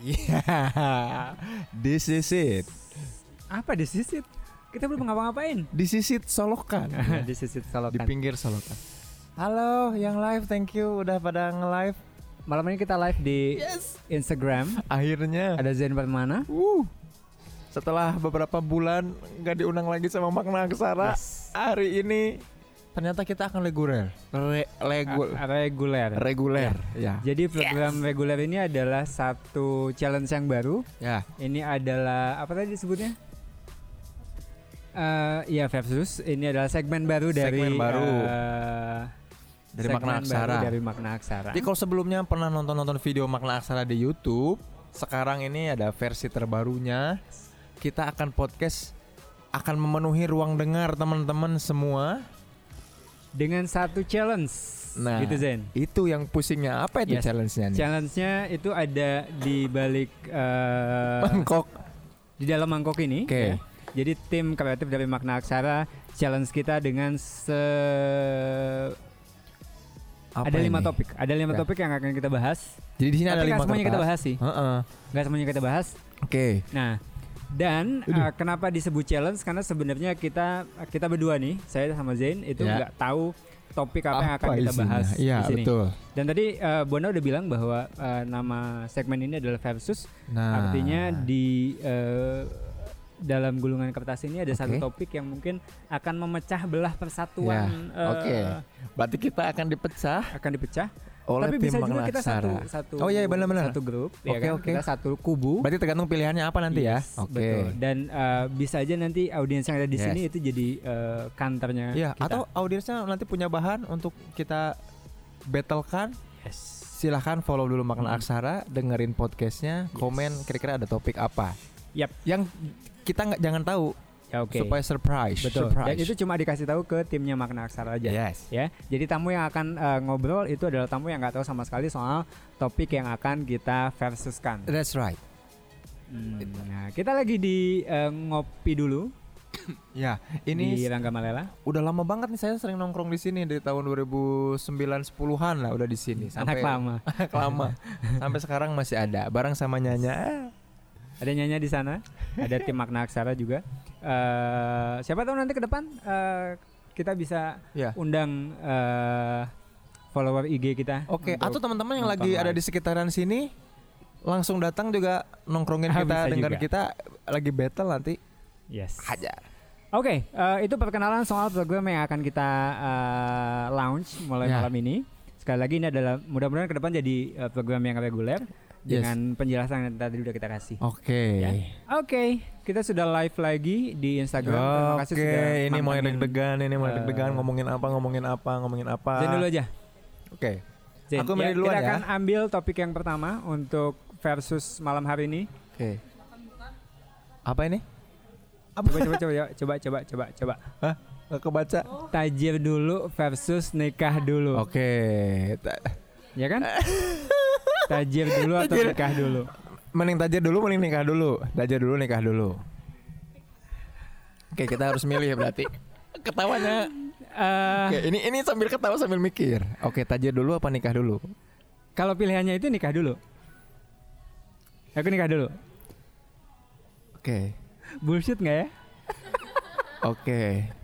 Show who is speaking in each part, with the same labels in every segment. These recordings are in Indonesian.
Speaker 1: Iya. This is it.
Speaker 2: Apa disisit? Kita belum ngapa-ngapain.
Speaker 1: This is it solokan.
Speaker 2: Iya, disisit kalau
Speaker 1: Di pinggir solokan. Halo yang live, thank you udah pada nge-live.
Speaker 2: Malam ini kita live di Instagram.
Speaker 1: Akhirnya.
Speaker 2: Ada Zen Permana.
Speaker 1: Wuh. Setelah beberapa bulan nggak diundang lagi sama Makna Aksara,
Speaker 2: Yes.
Speaker 1: hari ini ternyata kita akan reguler. Re legul-
Speaker 2: A- Reguler.
Speaker 1: reguler. Ya.
Speaker 2: Jadi program reguler ini adalah satu challenge yang baru.
Speaker 1: Ya.
Speaker 2: Ini adalah apa tadi disebutnya? Eh ya versus ini adalah segmen baru dari
Speaker 1: Segmen baru.
Speaker 2: eh,
Speaker 1: Dari
Speaker 2: segmen
Speaker 1: Makna
Speaker 2: baru
Speaker 1: Aksara.
Speaker 2: Dari makna aksara.
Speaker 1: Jadi kalau sebelumnya pernah nonton-nonton video Makna Aksara di YouTube, sekarang ini ada versi terbarunya. Kita akan podcast akan memenuhi ruang dengar teman-teman semua.
Speaker 2: Dengan satu challenge.
Speaker 1: Nah,
Speaker 2: Gitu Zen.
Speaker 1: Itu yang pusingnya apa itu
Speaker 2: Yes.
Speaker 1: challenge-nya nih?
Speaker 2: Challenge-nya itu ada di balik eh,
Speaker 1: Bangkok.
Speaker 2: di dalam mangkok ini.
Speaker 1: Oke.
Speaker 2: ya. Jadi tim kreatif dari Makna Aksara challenge kita dengan se
Speaker 1: Apa
Speaker 2: ada lima
Speaker 1: ini?
Speaker 2: topik. Ada lima
Speaker 1: Ya.
Speaker 2: topik yang akan kita bahas.
Speaker 1: Jadi di sini
Speaker 2: Tapi
Speaker 1: ada
Speaker 2: nggak
Speaker 1: lima
Speaker 2: semuanya kita
Speaker 1: kertas.
Speaker 2: bahas sih.
Speaker 1: Heeh.
Speaker 2: Gak semuanya kita bahas.
Speaker 1: Oke.
Speaker 2: Nah, dan eh, kenapa disebut challenge? Karena sebenarnya kita kita berdua nih, saya sama Zain itu
Speaker 1: Ya.
Speaker 2: nggak tahu topik apa, yang akan kita
Speaker 1: isinya?
Speaker 2: bahas
Speaker 1: Iya,
Speaker 2: di sini.
Speaker 1: betul.
Speaker 2: Dan tadi eh, Bona udah bilang bahwa eh, nama segmen ini adalah versus.
Speaker 1: Nah,
Speaker 2: Artinya di eh, dalam gulungan kertas ini ada
Speaker 1: Oke.
Speaker 2: satu topik yang mungkin akan memecah belah
Speaker 1: Ya,
Speaker 2: persatuan. eh,
Speaker 1: oke. berarti kita akan dipecah
Speaker 2: Akan dipecah.
Speaker 1: oleh
Speaker 2: Tapi
Speaker 1: tim
Speaker 2: bisa juga
Speaker 1: Makna
Speaker 2: kita satu,
Speaker 1: Aksara.
Speaker 2: satu.
Speaker 1: Oh, iya, benar-benar.
Speaker 2: Satu grup.
Speaker 1: Oke,
Speaker 2: kan?
Speaker 1: oke.
Speaker 2: Kita satu kubu.
Speaker 1: Berarti tergantung pilihannya apa nanti
Speaker 2: Yes,
Speaker 1: ya. Oke.
Speaker 2: betul. Dan eh, bisa aja nanti audiens yang ada di
Speaker 1: Yes.
Speaker 2: sini itu jadi eh, kantornya.
Speaker 1: Iya,
Speaker 2: kita.
Speaker 1: atau audiensnya nanti punya bahan untuk kita battlekan.
Speaker 2: Yes.
Speaker 1: Silahkan follow dulu
Speaker 2: Hmm.
Speaker 1: Makna Aksara, dengerin podcastnya, komen kira-kira ada topik apa.
Speaker 2: Yap.
Speaker 1: Yang kita nggak jangan tahu
Speaker 2: Ya, oke.
Speaker 1: supaya surprise.
Speaker 2: Betul.
Speaker 1: Surprise.
Speaker 2: Dan itu cuma dikasih tahu ke timnya Makna Aksara aja.
Speaker 1: yes.
Speaker 2: Ya, jadi tamu yang akan eh, ngobrol itu adalah tamu yang nggak tahu sama sekali soal topik yang akan kita versuskan.
Speaker 1: That's right.
Speaker 2: Hmm, Nah, kita lagi di eh, ngopi dulu
Speaker 1: Ya,
Speaker 2: di
Speaker 1: ini
Speaker 2: Rangga Malela.
Speaker 1: udah lama banget nih saya sering nongkrong di sini dari tahun 2009 10-an lah udah di sini
Speaker 2: Anak lama.
Speaker 1: anak lama. sampai sekarang masih ada bareng sama Nyanya.
Speaker 2: Ada Nyanya di sana, ada tim Makna Aksara juga. Eh, siapa tahu nanti ke depan eh, kita bisa
Speaker 1: Ya.
Speaker 2: undang eh, follower IG kita.
Speaker 1: Oke,
Speaker 2: untuk-
Speaker 1: atau teman-teman yang
Speaker 2: nonton
Speaker 1: lagi ada
Speaker 2: live.
Speaker 1: di sekitaran sini langsung datang juga nongkrongin
Speaker 2: Ah,
Speaker 1: kita
Speaker 2: bisa
Speaker 1: dengar
Speaker 2: juga.
Speaker 1: kita lagi battle nanti
Speaker 2: yes.
Speaker 1: hajar.
Speaker 2: Oke, eh, itu perkenalan soal program yang akan kita eh, launch mulai
Speaker 1: Ya.
Speaker 2: malam ini. Sekali lagi ini adalah mudah-mudahan ke depan jadi eh, program yang reguler
Speaker 1: Yes. Oh.
Speaker 2: dengan penjelasan yang tadi udah kita kasih.
Speaker 1: Oke.
Speaker 2: Ya. Oke, kita sudah live lagi di Instagram. Terima kasih
Speaker 1: Oke,
Speaker 2: sudah
Speaker 1: ini mau
Speaker 2: mantengin.
Speaker 1: deg-degan, ini mau
Speaker 2: eh,
Speaker 1: deg-degan ngomongin apa, ngomongin apa, ngomongin apa.
Speaker 2: Zain dulu aja.
Speaker 1: Oke.
Speaker 2: Zain,
Speaker 1: Aku milih
Speaker 2: ya,
Speaker 1: duluan
Speaker 2: kita
Speaker 1: ya.
Speaker 2: akan ambil topik yang pertama untuk versus malam hari ini.
Speaker 1: Oke. Apa ini?
Speaker 2: Coba coba coba coba, coba coba coba coba.
Speaker 1: Hah? Gak kebaca.
Speaker 2: Tajir dulu versus nikah dulu.
Speaker 1: Oke. Ta-
Speaker 2: Ya kan? Tajir dulu atau
Speaker 1: Tajir.
Speaker 2: nikah dulu?
Speaker 1: Mending tajir dulu, mending nikah dulu. Tajir dulu, nikah dulu. Oke, kita harus milih ya berarti. Ketawanya
Speaker 2: Eh,
Speaker 1: Oke, ini ini sambil ketawa sambil mikir. Oke, tajir dulu apa nikah dulu?
Speaker 2: kalau pilihannya itu nikah dulu. Aku nikah dulu.
Speaker 1: Oke.
Speaker 2: Bullshit nggak ya?
Speaker 1: Oke.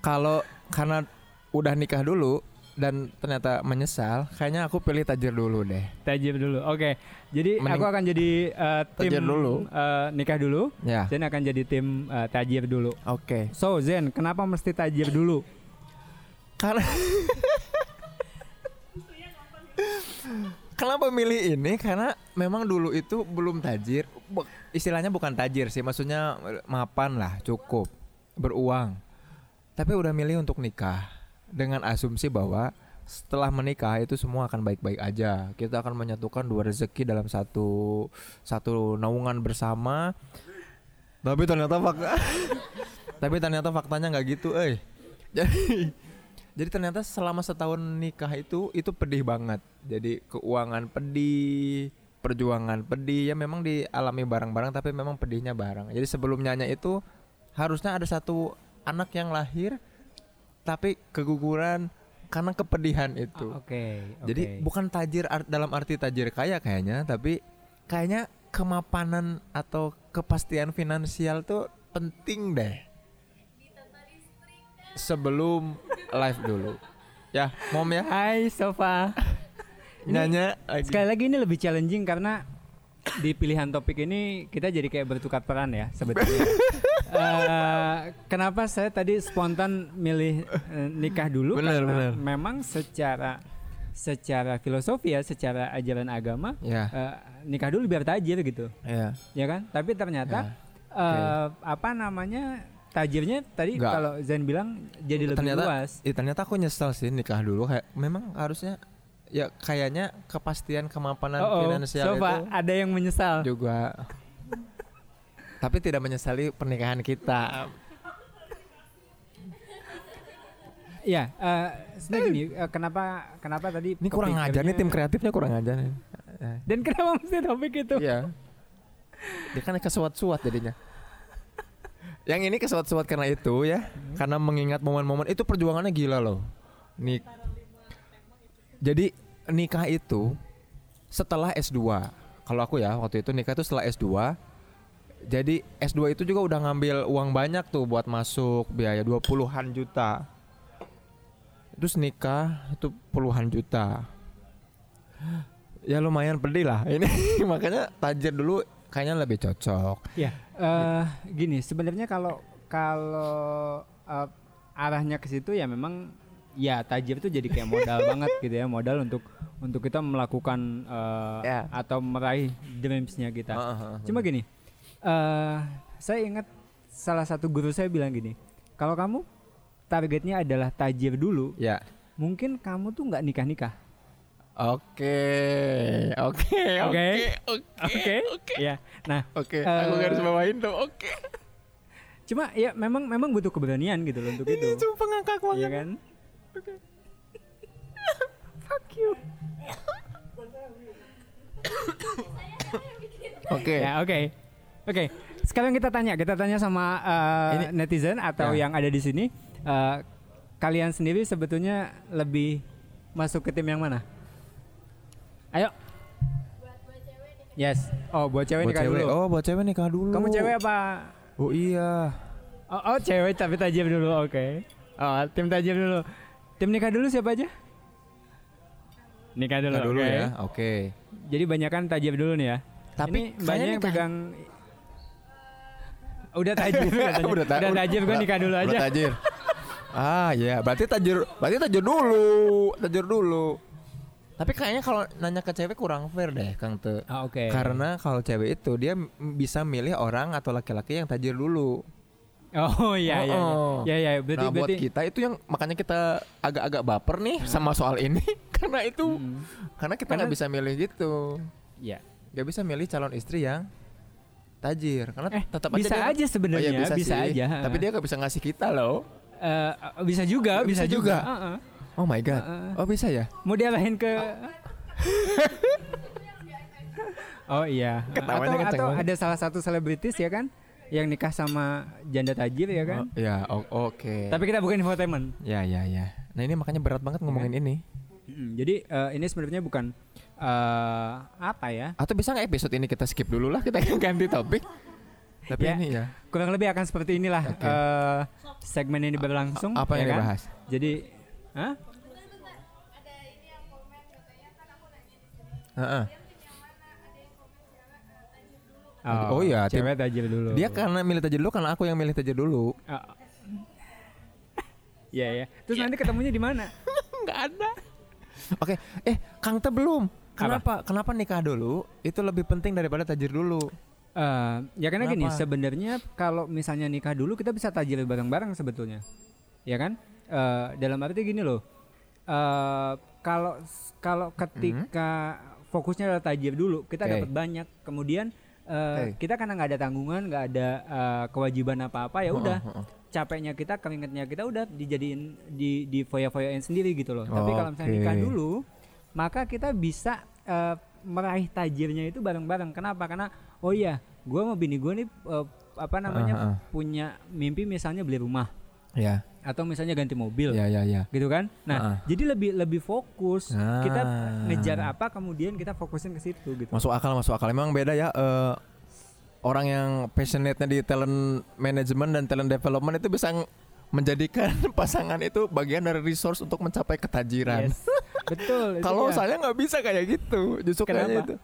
Speaker 1: Kalau karena udah nikah dulu dan ternyata menyesal, kayaknya aku pilih tajir dulu deh.
Speaker 2: Tajir dulu. Oke. Jadi
Speaker 1: Mending-
Speaker 2: aku akan jadi eh, tim
Speaker 1: Tajir dulu.
Speaker 2: eh, nikah dulu.
Speaker 1: Ya.
Speaker 2: Zen akan jadi tim eh, tajir dulu.
Speaker 1: Oke.
Speaker 2: So Zen, kenapa mesti tajir dulu?
Speaker 1: Karena Kenapa milih ini? Karena memang dulu itu belum tajir. Bu- Istilahnya bukan tajir sih, maksudnya mapan lah, cukup beruang. Tapi udah milih untuk nikah dengan asumsi bahwa setelah menikah itu semua akan baik-baik aja. Kita akan menyatukan dua rezeki dalam satu satu naungan bersama. Tapi ternyata fakta Tapi ternyata faktanya nggak gitu, eh. Jadi jadi ternyata selama setahun nikah itu itu pedih banget. Jadi keuangan pedih, perjuangan pedih ya memang dialami bareng-bareng tapi memang pedihnya bareng. Jadi sebelum nyanya itu harusnya ada satu anak yang lahir tapi keguguran karena kepedihan itu.
Speaker 2: Oke.
Speaker 1: Jadi bukan tajir ar- dalam arti tajir kaya kayaknya, tapi kayaknya kemapanan atau kepastian finansial tuh penting deh. Sebelum live dulu. Ya, mom ya.
Speaker 2: Hai Sofa. Ini-
Speaker 1: Nyanyi lagi.
Speaker 2: Sekali lagi ini lebih challenging karena di pilihan topik ini kita jadi kayak bertukar peran ya sebetulnya. Eh, kenapa saya tadi spontan milih eh, nikah dulu?
Speaker 1: Benar,
Speaker 2: Karena
Speaker 1: benar.
Speaker 2: Memang secara secara filosofi ya, secara ajaran agama
Speaker 1: Ya,
Speaker 2: eh, nikah dulu biar tajir gitu,
Speaker 1: ya.
Speaker 2: ya kan? Tapi ternyata eh, apa namanya tajirnya tadi
Speaker 1: Nggak.
Speaker 2: kalau Zain bilang jadi lebih
Speaker 1: Ternyata-
Speaker 2: luas.
Speaker 1: Ya, ternyata aku nyesel sih nikah dulu kayak memang harusnya ya kayaknya kepastian kemapanan
Speaker 2: Oh, oh,
Speaker 1: finansial
Speaker 2: Sofa,
Speaker 1: itu
Speaker 2: ada yang menyesal.
Speaker 1: juga tapi tidak menyesali pernikahan kita
Speaker 2: Ya, eh sebenarnya gini, eh, kenapa kenapa tadi
Speaker 1: ini kurang ajar nih
Speaker 2: kepikirannya-
Speaker 1: tim kreatifnya kurang ajar nih
Speaker 2: Dan kenapa mesti topik itu?
Speaker 1: iya dia kan kesuat-suat jadinya yang ini kesuat-suat karena itu ya karena mengingat momen-momen itu perjuangannya gila loh nik jadi nikah itu setelah S2 kalau aku ya waktu itu nikah itu setelah S2 jadi S2 itu juga udah ngambil uang banyak tuh buat masuk biaya 20-an juta terus nikah itu puluhan juta ya lumayan pedih lah ini makanya tajir dulu kayaknya lebih cocok
Speaker 2: Ya, eh, gini, sebenarnya kalau kalau eh, arahnya ke situ ya memang ya tajir itu jadi kayak modal banget gitu ya, modal untuk untuk kita melakukan eh,
Speaker 1: Ya.
Speaker 2: atau meraih dreamsnya kita.
Speaker 1: Heeh, heeh, heeh.
Speaker 2: Cuma gini, eh saya ingat salah satu guru saya bilang gini, kalau kamu targetnya adalah tajir dulu,
Speaker 1: ya
Speaker 2: mungkin kamu tuh nggak nikah nikah.
Speaker 1: oke oke
Speaker 2: Oke.
Speaker 1: oke
Speaker 2: Oke. Ya. Nah,
Speaker 1: oke
Speaker 2: Eh,
Speaker 1: aku garis bawain tuh oke
Speaker 2: cuma ya memang memang butuh keberanian gitu loh untuk
Speaker 1: ini
Speaker 2: itu.
Speaker 1: cuma ngakak banget
Speaker 2: Iya kan? Fuck you.
Speaker 1: Iya. oke
Speaker 2: Ya, oke. Oke. Sekarang kita tanya, kita tanya sama eh,
Speaker 1: Ini-
Speaker 2: netizen atau
Speaker 1: Ya.
Speaker 2: yang ada di sini eh, kalian sendiri sebetulnya lebih masuk ke tim yang mana? Ayo. Yes. Oh, buat cewek
Speaker 1: buat
Speaker 2: nikah
Speaker 1: cewek
Speaker 2: dulu.
Speaker 1: oh buat cewek nikah dulu
Speaker 2: Kamu cewek apa?
Speaker 1: oh iya
Speaker 2: Oh, oh, cewek tapi tajam dulu, oke. Oh, tim tajam dulu. Tim nikah dulu siapa aja? Nikah dulu,
Speaker 1: nikah dulu
Speaker 2: oke.
Speaker 1: ya oke
Speaker 2: Jadi banyakan tajam dulu nih ya.
Speaker 1: Tapi
Speaker 2: Ini
Speaker 1: kayaknya
Speaker 2: banyak yang
Speaker 1: nikah-
Speaker 2: pegang Udah tajam katanya.
Speaker 1: Udah
Speaker 2: Udah,
Speaker 1: ta-
Speaker 2: tajam gue nikah dulu aja.
Speaker 1: Udah tajir ah iya berarti tajir berarti tajir dulu tajir dulu tapi kayaknya kalau nanya ke cewek kurang fair deh kang te
Speaker 2: Ah, oke.
Speaker 1: Karena kalau cewek itu dia m- bisa milih orang atau laki-laki yang tajir dulu.
Speaker 2: Oh iya iya.
Speaker 1: Oh.
Speaker 2: iya. Iya iya, berarti
Speaker 1: nah buat
Speaker 2: berarti
Speaker 1: kita itu yang makanya kita agak-agak baper nih sama soal ini karena itu
Speaker 2: Mm.
Speaker 1: karena kita nggak bisa
Speaker 2: Karena-
Speaker 1: milih gitu,
Speaker 2: Iya.
Speaker 1: nggak bisa milih calon istri yang tajir karena
Speaker 2: Eh,
Speaker 1: tetap
Speaker 2: bisa
Speaker 1: aja, Oh iya,
Speaker 2: aja sebenarnya,
Speaker 1: bisa,
Speaker 2: bisa
Speaker 1: sih.
Speaker 2: aja.
Speaker 1: Tapi dia nggak bisa ngasih kita loh.
Speaker 2: Eh, bisa juga,
Speaker 1: Bisa
Speaker 2: bisa,
Speaker 1: juga.
Speaker 2: juga. Heeh.
Speaker 1: Oh my god. Oh bisa ya?
Speaker 2: Mau diarahin ke Oh iya.
Speaker 1: Ketawanya
Speaker 2: atau,
Speaker 1: kenceng
Speaker 2: atau
Speaker 1: banget.
Speaker 2: ada salah satu selebritis ya kan yang nikah sama janda tajir ya kan?
Speaker 1: Oh, ya o- oke.
Speaker 2: Tapi Iya. kita bukan infotainment.
Speaker 1: ya ya ya. Nah ini makanya berat banget ngomongin ini.
Speaker 2: Mm, Jadi eh, ini sebenarnya bukan eh, apa ya?
Speaker 1: Atau bisa nggak episode ini kita skip dulu lah kita ganti topik. Tapi
Speaker 2: Ya.
Speaker 1: ini ya.
Speaker 2: Kurang lebih akan seperti inilah
Speaker 1: Oke.
Speaker 2: eh, segmen ini berlangsung.
Speaker 1: Apa
Speaker 2: ya
Speaker 1: yang
Speaker 2: kan?
Speaker 1: dibahas?
Speaker 2: Jadi, hah?
Speaker 1: Heeh.
Speaker 2: Oh,
Speaker 1: Oh iya, tim-
Speaker 2: cewek tajir dulu.
Speaker 1: Dia karena milih tajir dulu karena aku yang milih tajir dulu.
Speaker 2: Oh. Iya ya. Terus nanti ketemunya di mana?
Speaker 1: Nggak ada. Oke, eh Kang Te belum. Kenapa? Kenapa nikah dulu itu lebih penting daripada tajir dulu?
Speaker 2: Eh, ya karena gini,
Speaker 1: Kenapa?
Speaker 2: sebenarnya kalau misalnya nikah dulu kita bisa tajir bareng-bareng sebetulnya, ya kan? Eh, dalam arti gini loh, eh, kalau kalau ketika fokusnya adalah tajir dulu,
Speaker 1: Mhm.
Speaker 2: kita
Speaker 1: Oke.
Speaker 2: dapat banyak. Kemudian eh,
Speaker 1: Oke.
Speaker 2: kita karena nggak ada tanggungan, nggak ada eh, kewajiban apa-apa, ya
Speaker 1: Heeh,
Speaker 2: udah.
Speaker 1: heeh.
Speaker 2: Capeknya kita, keringetnya kita udah dijadiin di di foya-foyain sendiri gitu loh. Tapi kalau misalnya
Speaker 1: Oke.
Speaker 2: nikah dulu, maka kita bisa eh, meraih tajirnya itu bareng-bareng. Kenapa? Karena oh iya, gua sama bini gue nih eh, apa namanya
Speaker 1: Ah, ah.
Speaker 2: punya mimpi misalnya beli rumah.
Speaker 1: Ya,
Speaker 2: atau misalnya ganti mobil
Speaker 1: ya, ya, ya.
Speaker 2: gitu kan nah
Speaker 1: Ah.
Speaker 2: jadi lebih lebih fokus
Speaker 1: Ah.
Speaker 2: kita ngejar apa kemudian kita fokusin ke situ gitu
Speaker 1: Masuk akal, masuk akal. Emang beda ya. eh, orang yang passionate-nya di talent management dan talent development itu bisa ng- menjadikan pasangan itu bagian dari resource untuk mencapai ketajiran.
Speaker 2: Yes. betul itu
Speaker 1: Kalau
Speaker 2: dia.
Speaker 1: saya nggak bisa kayak gitu, justru kayaknya
Speaker 2: Kenapa?
Speaker 1: itu.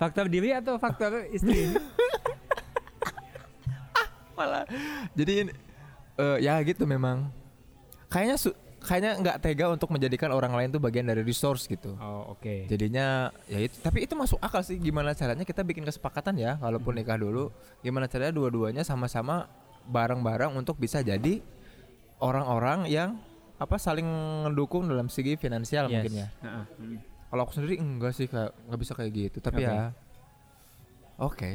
Speaker 2: faktor diri atau faktor istri
Speaker 1: malah jadi ini- eh, ya gitu memang kayaknya su- kayaknya nggak tega untuk menjadikan orang lain tuh bagian dari resource gitu
Speaker 2: oh oke
Speaker 1: jadinya ya itu tapi itu masuk akal sih gimana caranya kita bikin kesepakatan ya kalaupun nikah dulu gimana caranya dua-duanya sama-sama bareng-bareng untuk bisa jadi orang-orang yang apa saling mendukung dalam segi finansial mungkin ya
Speaker 2: Heeh. Mm.
Speaker 1: kalau aku sendiri enggak sih kayak nggak bisa kayak gitu tapi
Speaker 2: Oke.
Speaker 1: ya oke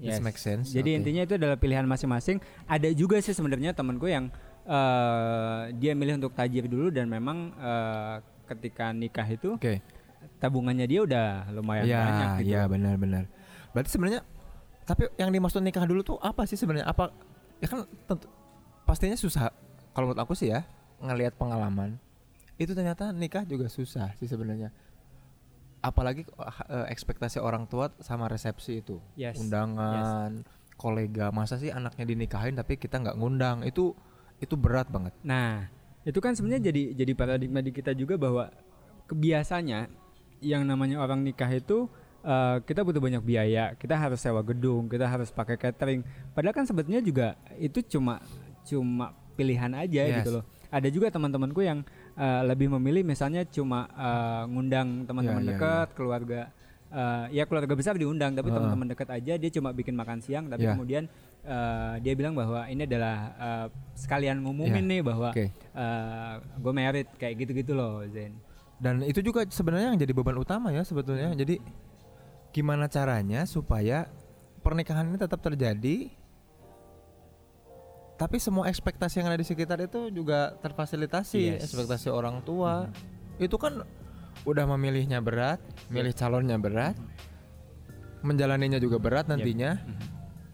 Speaker 1: this
Speaker 2: Yes.
Speaker 1: makes sense
Speaker 2: Jadi
Speaker 1: Oke.
Speaker 2: intinya itu adalah pilihan masing-masing. Ada juga sih sebenarnya temanku yang eh, dia milih untuk tajir dulu dan memang eh, ketika nikah itu
Speaker 1: oke
Speaker 2: tabungannya dia udah lumayan
Speaker 1: Iya,
Speaker 2: banyak gitu.
Speaker 1: Iya, benar-benar. Berarti sebenarnya tapi yang dimaksud nikah dulu tuh apa sih sebenarnya? Apa ya kan tentu, pastinya susah kalau menurut aku sih ya ngelihat pengalaman. Itu ternyata nikah juga susah sih sebenarnya. Apalagi eh, ekspektasi orang tua sama resepsi itu.
Speaker 2: Yes.
Speaker 1: Undangan, kolega. Masa sih anaknya dinikahin tapi kita nggak ngundang? Itu itu berat banget.
Speaker 2: Nah, itu kan sebenarnya jadi jadi paradigma di kita juga bahwa kebiasaannya yang namanya orang nikah itu eh, kita butuh banyak biaya, kita harus sewa gedung, kita harus pakai catering. Padahal kan sebetulnya juga itu cuma cuma pilihan aja
Speaker 1: Yes.
Speaker 2: gitu loh. Ada juga teman-temanku yang eh, lebih memilih misalnya cuma eh, ngundang teman-teman
Speaker 1: Ya, ya,
Speaker 2: dekat, keluarga eh, ya keluarga besar diundang tapi
Speaker 1: Heeh.
Speaker 2: teman-teman dekat aja dia cuma bikin makan siang tapi
Speaker 1: Ya.
Speaker 2: kemudian eh, dia bilang bahwa ini adalah eh, sekalian ngumumin
Speaker 1: Ya.
Speaker 2: nih bahwa
Speaker 1: Oke.
Speaker 2: gue merit kayak gitu-gitu loh Zen.
Speaker 1: Dan itu juga sebenarnya yang jadi beban utama ya sebetulnya. Jadi gimana caranya supaya pernikahan ini tetap terjadi tapi semua ekspektasi yang ada di sekitar itu juga terfasilitasi, Iya,
Speaker 2: Yes.
Speaker 1: ekspektasi orang tua. Itu kan udah memilihnya berat, milih calonnya berat, menjalaninya juga berat nantinya.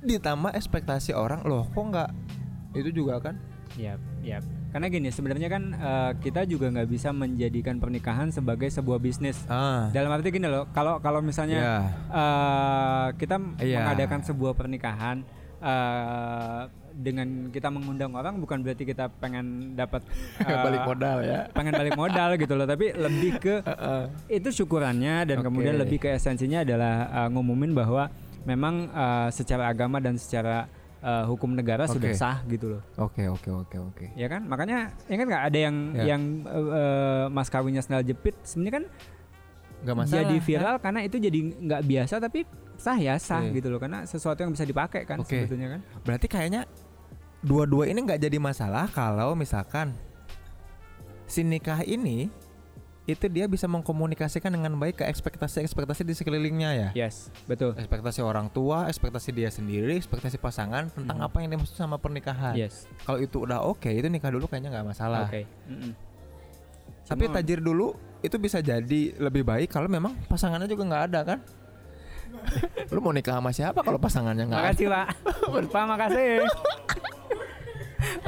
Speaker 1: Ditambah ekspektasi orang, loh kok nggak itu juga kan?
Speaker 2: Yap, yap. Karena gini sebenarnya kan eh, kita juga nggak bisa menjadikan pernikahan sebagai sebuah bisnis.
Speaker 1: Ah.
Speaker 2: Dalam arti gini loh, kalau kalau misalnya
Speaker 1: Ya.
Speaker 2: eh, kita
Speaker 1: Iya.
Speaker 2: mengadakan sebuah pernikahan eh, dengan kita mengundang orang bukan berarti kita pengen dapat eh,
Speaker 1: Balik modal Ah. ya.
Speaker 2: pengen balik modal gitu loh tapi lebih ke itu syukurannya dan
Speaker 1: Oke.
Speaker 2: kemudian lebih ke esensinya adalah uh, ngumumin bahwa memang uh, secara agama dan secara uh, hukum negara sudah
Speaker 1: Oke.
Speaker 2: sah gitu loh
Speaker 1: Oke, oke, oke, oke.
Speaker 2: ya kan makanya ingat nggak ada yang
Speaker 1: Ya.
Speaker 2: yang uh, uh, mas kawinnya sendal jepit sebenarnya kan
Speaker 1: Gak masalah. ya.
Speaker 2: jadi viral karena itu jadi nggak biasa tapi sah ya sah
Speaker 1: Iya.
Speaker 2: gitu loh karena sesuatu yang bisa dipakai kan
Speaker 1: Oke.
Speaker 2: sebetulnya kan
Speaker 1: Berarti kayaknya dua-dua ini nggak jadi masalah kalau misalkan si nikah ini itu dia bisa mengkomunikasikan dengan baik ke ekspektasi-ekspektasi di sekelilingnya ya.
Speaker 2: yes betul
Speaker 1: Ekspektasi orang tua, ekspektasi dia sendiri, ekspektasi pasangan tentang
Speaker 2: Mhm.
Speaker 1: apa yang dimaksud sama pernikahan.
Speaker 2: yes
Speaker 1: Kalau itu udah oke, itu nikah dulu kayaknya nggak masalah.
Speaker 2: oke Mm-mm.
Speaker 1: Tapi
Speaker 2: Cuma-
Speaker 1: tajir dulu itu bisa jadi lebih baik kalau memang pasangannya juga nggak ada kan? Lu mau nikah sama siapa kalau pasangannya nggak ada?
Speaker 2: Makasih Pak. Pak makasih.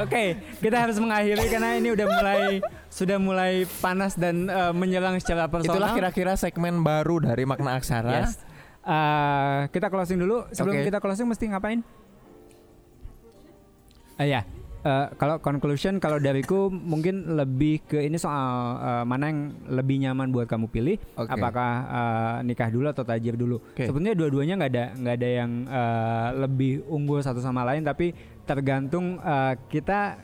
Speaker 2: Oke, kita harus mengakhiri karena ini udah mulai sudah mulai panas dan eh, menyerang secara personal.
Speaker 1: Itulah kira-kira segmen baru dari makna aksara.
Speaker 2: Yes. Eh, kita closing dulu. Sebelum
Speaker 1: Oke.
Speaker 2: kita closing mesti ngapain? Eh ya. Eh, kalau conclusion kalau dariku mungkin lebih ke ini soal eh, mana yang lebih nyaman buat kamu pilih,
Speaker 1: Oke.
Speaker 2: apakah eh, nikah dulu atau tajir dulu.
Speaker 1: Oke.
Speaker 2: Sebetulnya dua-duanya nggak ada nggak ada yang eh, lebih unggul satu sama lain, tapi tergantung eh, kita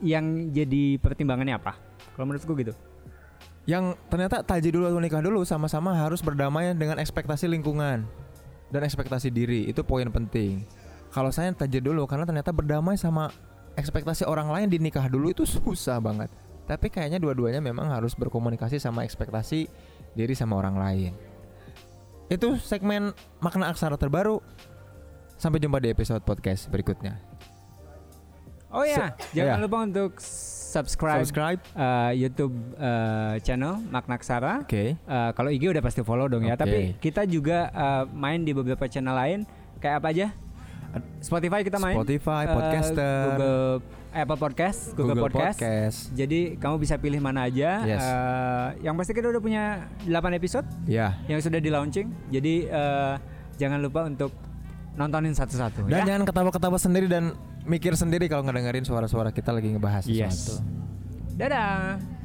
Speaker 2: yang jadi pertimbangannya apa. Kalau menurutku gitu.
Speaker 1: yang ternyata tajir dulu atau nikah dulu sama-sama harus berdamai dengan ekspektasi lingkungan dan ekspektasi diri itu poin penting kalau saya tajir dulu karena ternyata berdamai sama ekspektasi orang lain di nikah dulu itu susah banget tapi kayaknya dua-duanya memang harus berkomunikasi sama ekspektasi diri sama orang lain itu segmen makna aksara terbaru sampai jumpa di episode podcast berikutnya
Speaker 2: Oh ya,
Speaker 1: Se- ya.
Speaker 2: jangan lupa untuk subscribe
Speaker 1: subscribe
Speaker 2: eh, YouTube eh, channel Maknaksara.
Speaker 1: oke
Speaker 2: Eh, kalau IG udah pasti follow dong ya.
Speaker 1: Oke.
Speaker 2: Tapi kita juga eh, main di beberapa channel lain. Kayak apa aja? Spotify kita main.
Speaker 1: Spotify
Speaker 2: Eh,
Speaker 1: podcaster
Speaker 2: Google Apple Podcast, Google,
Speaker 1: Google
Speaker 2: Podcast.
Speaker 1: Podcast.
Speaker 2: Jadi kamu bisa pilih mana aja.
Speaker 1: Yes.
Speaker 2: Eh, yang pasti kita udah punya 8 episode
Speaker 1: Ya.
Speaker 2: yang sudah di launching. Jadi eh, jangan lupa untuk nontonin satu-satu
Speaker 1: Dan
Speaker 2: ya.
Speaker 1: jangan ketawa-ketawa sendiri dan mikir sendiri kalau ngedengerin suara-suara kita lagi ngebahas
Speaker 2: Yes.
Speaker 1: sesuatu.
Speaker 2: Dadah.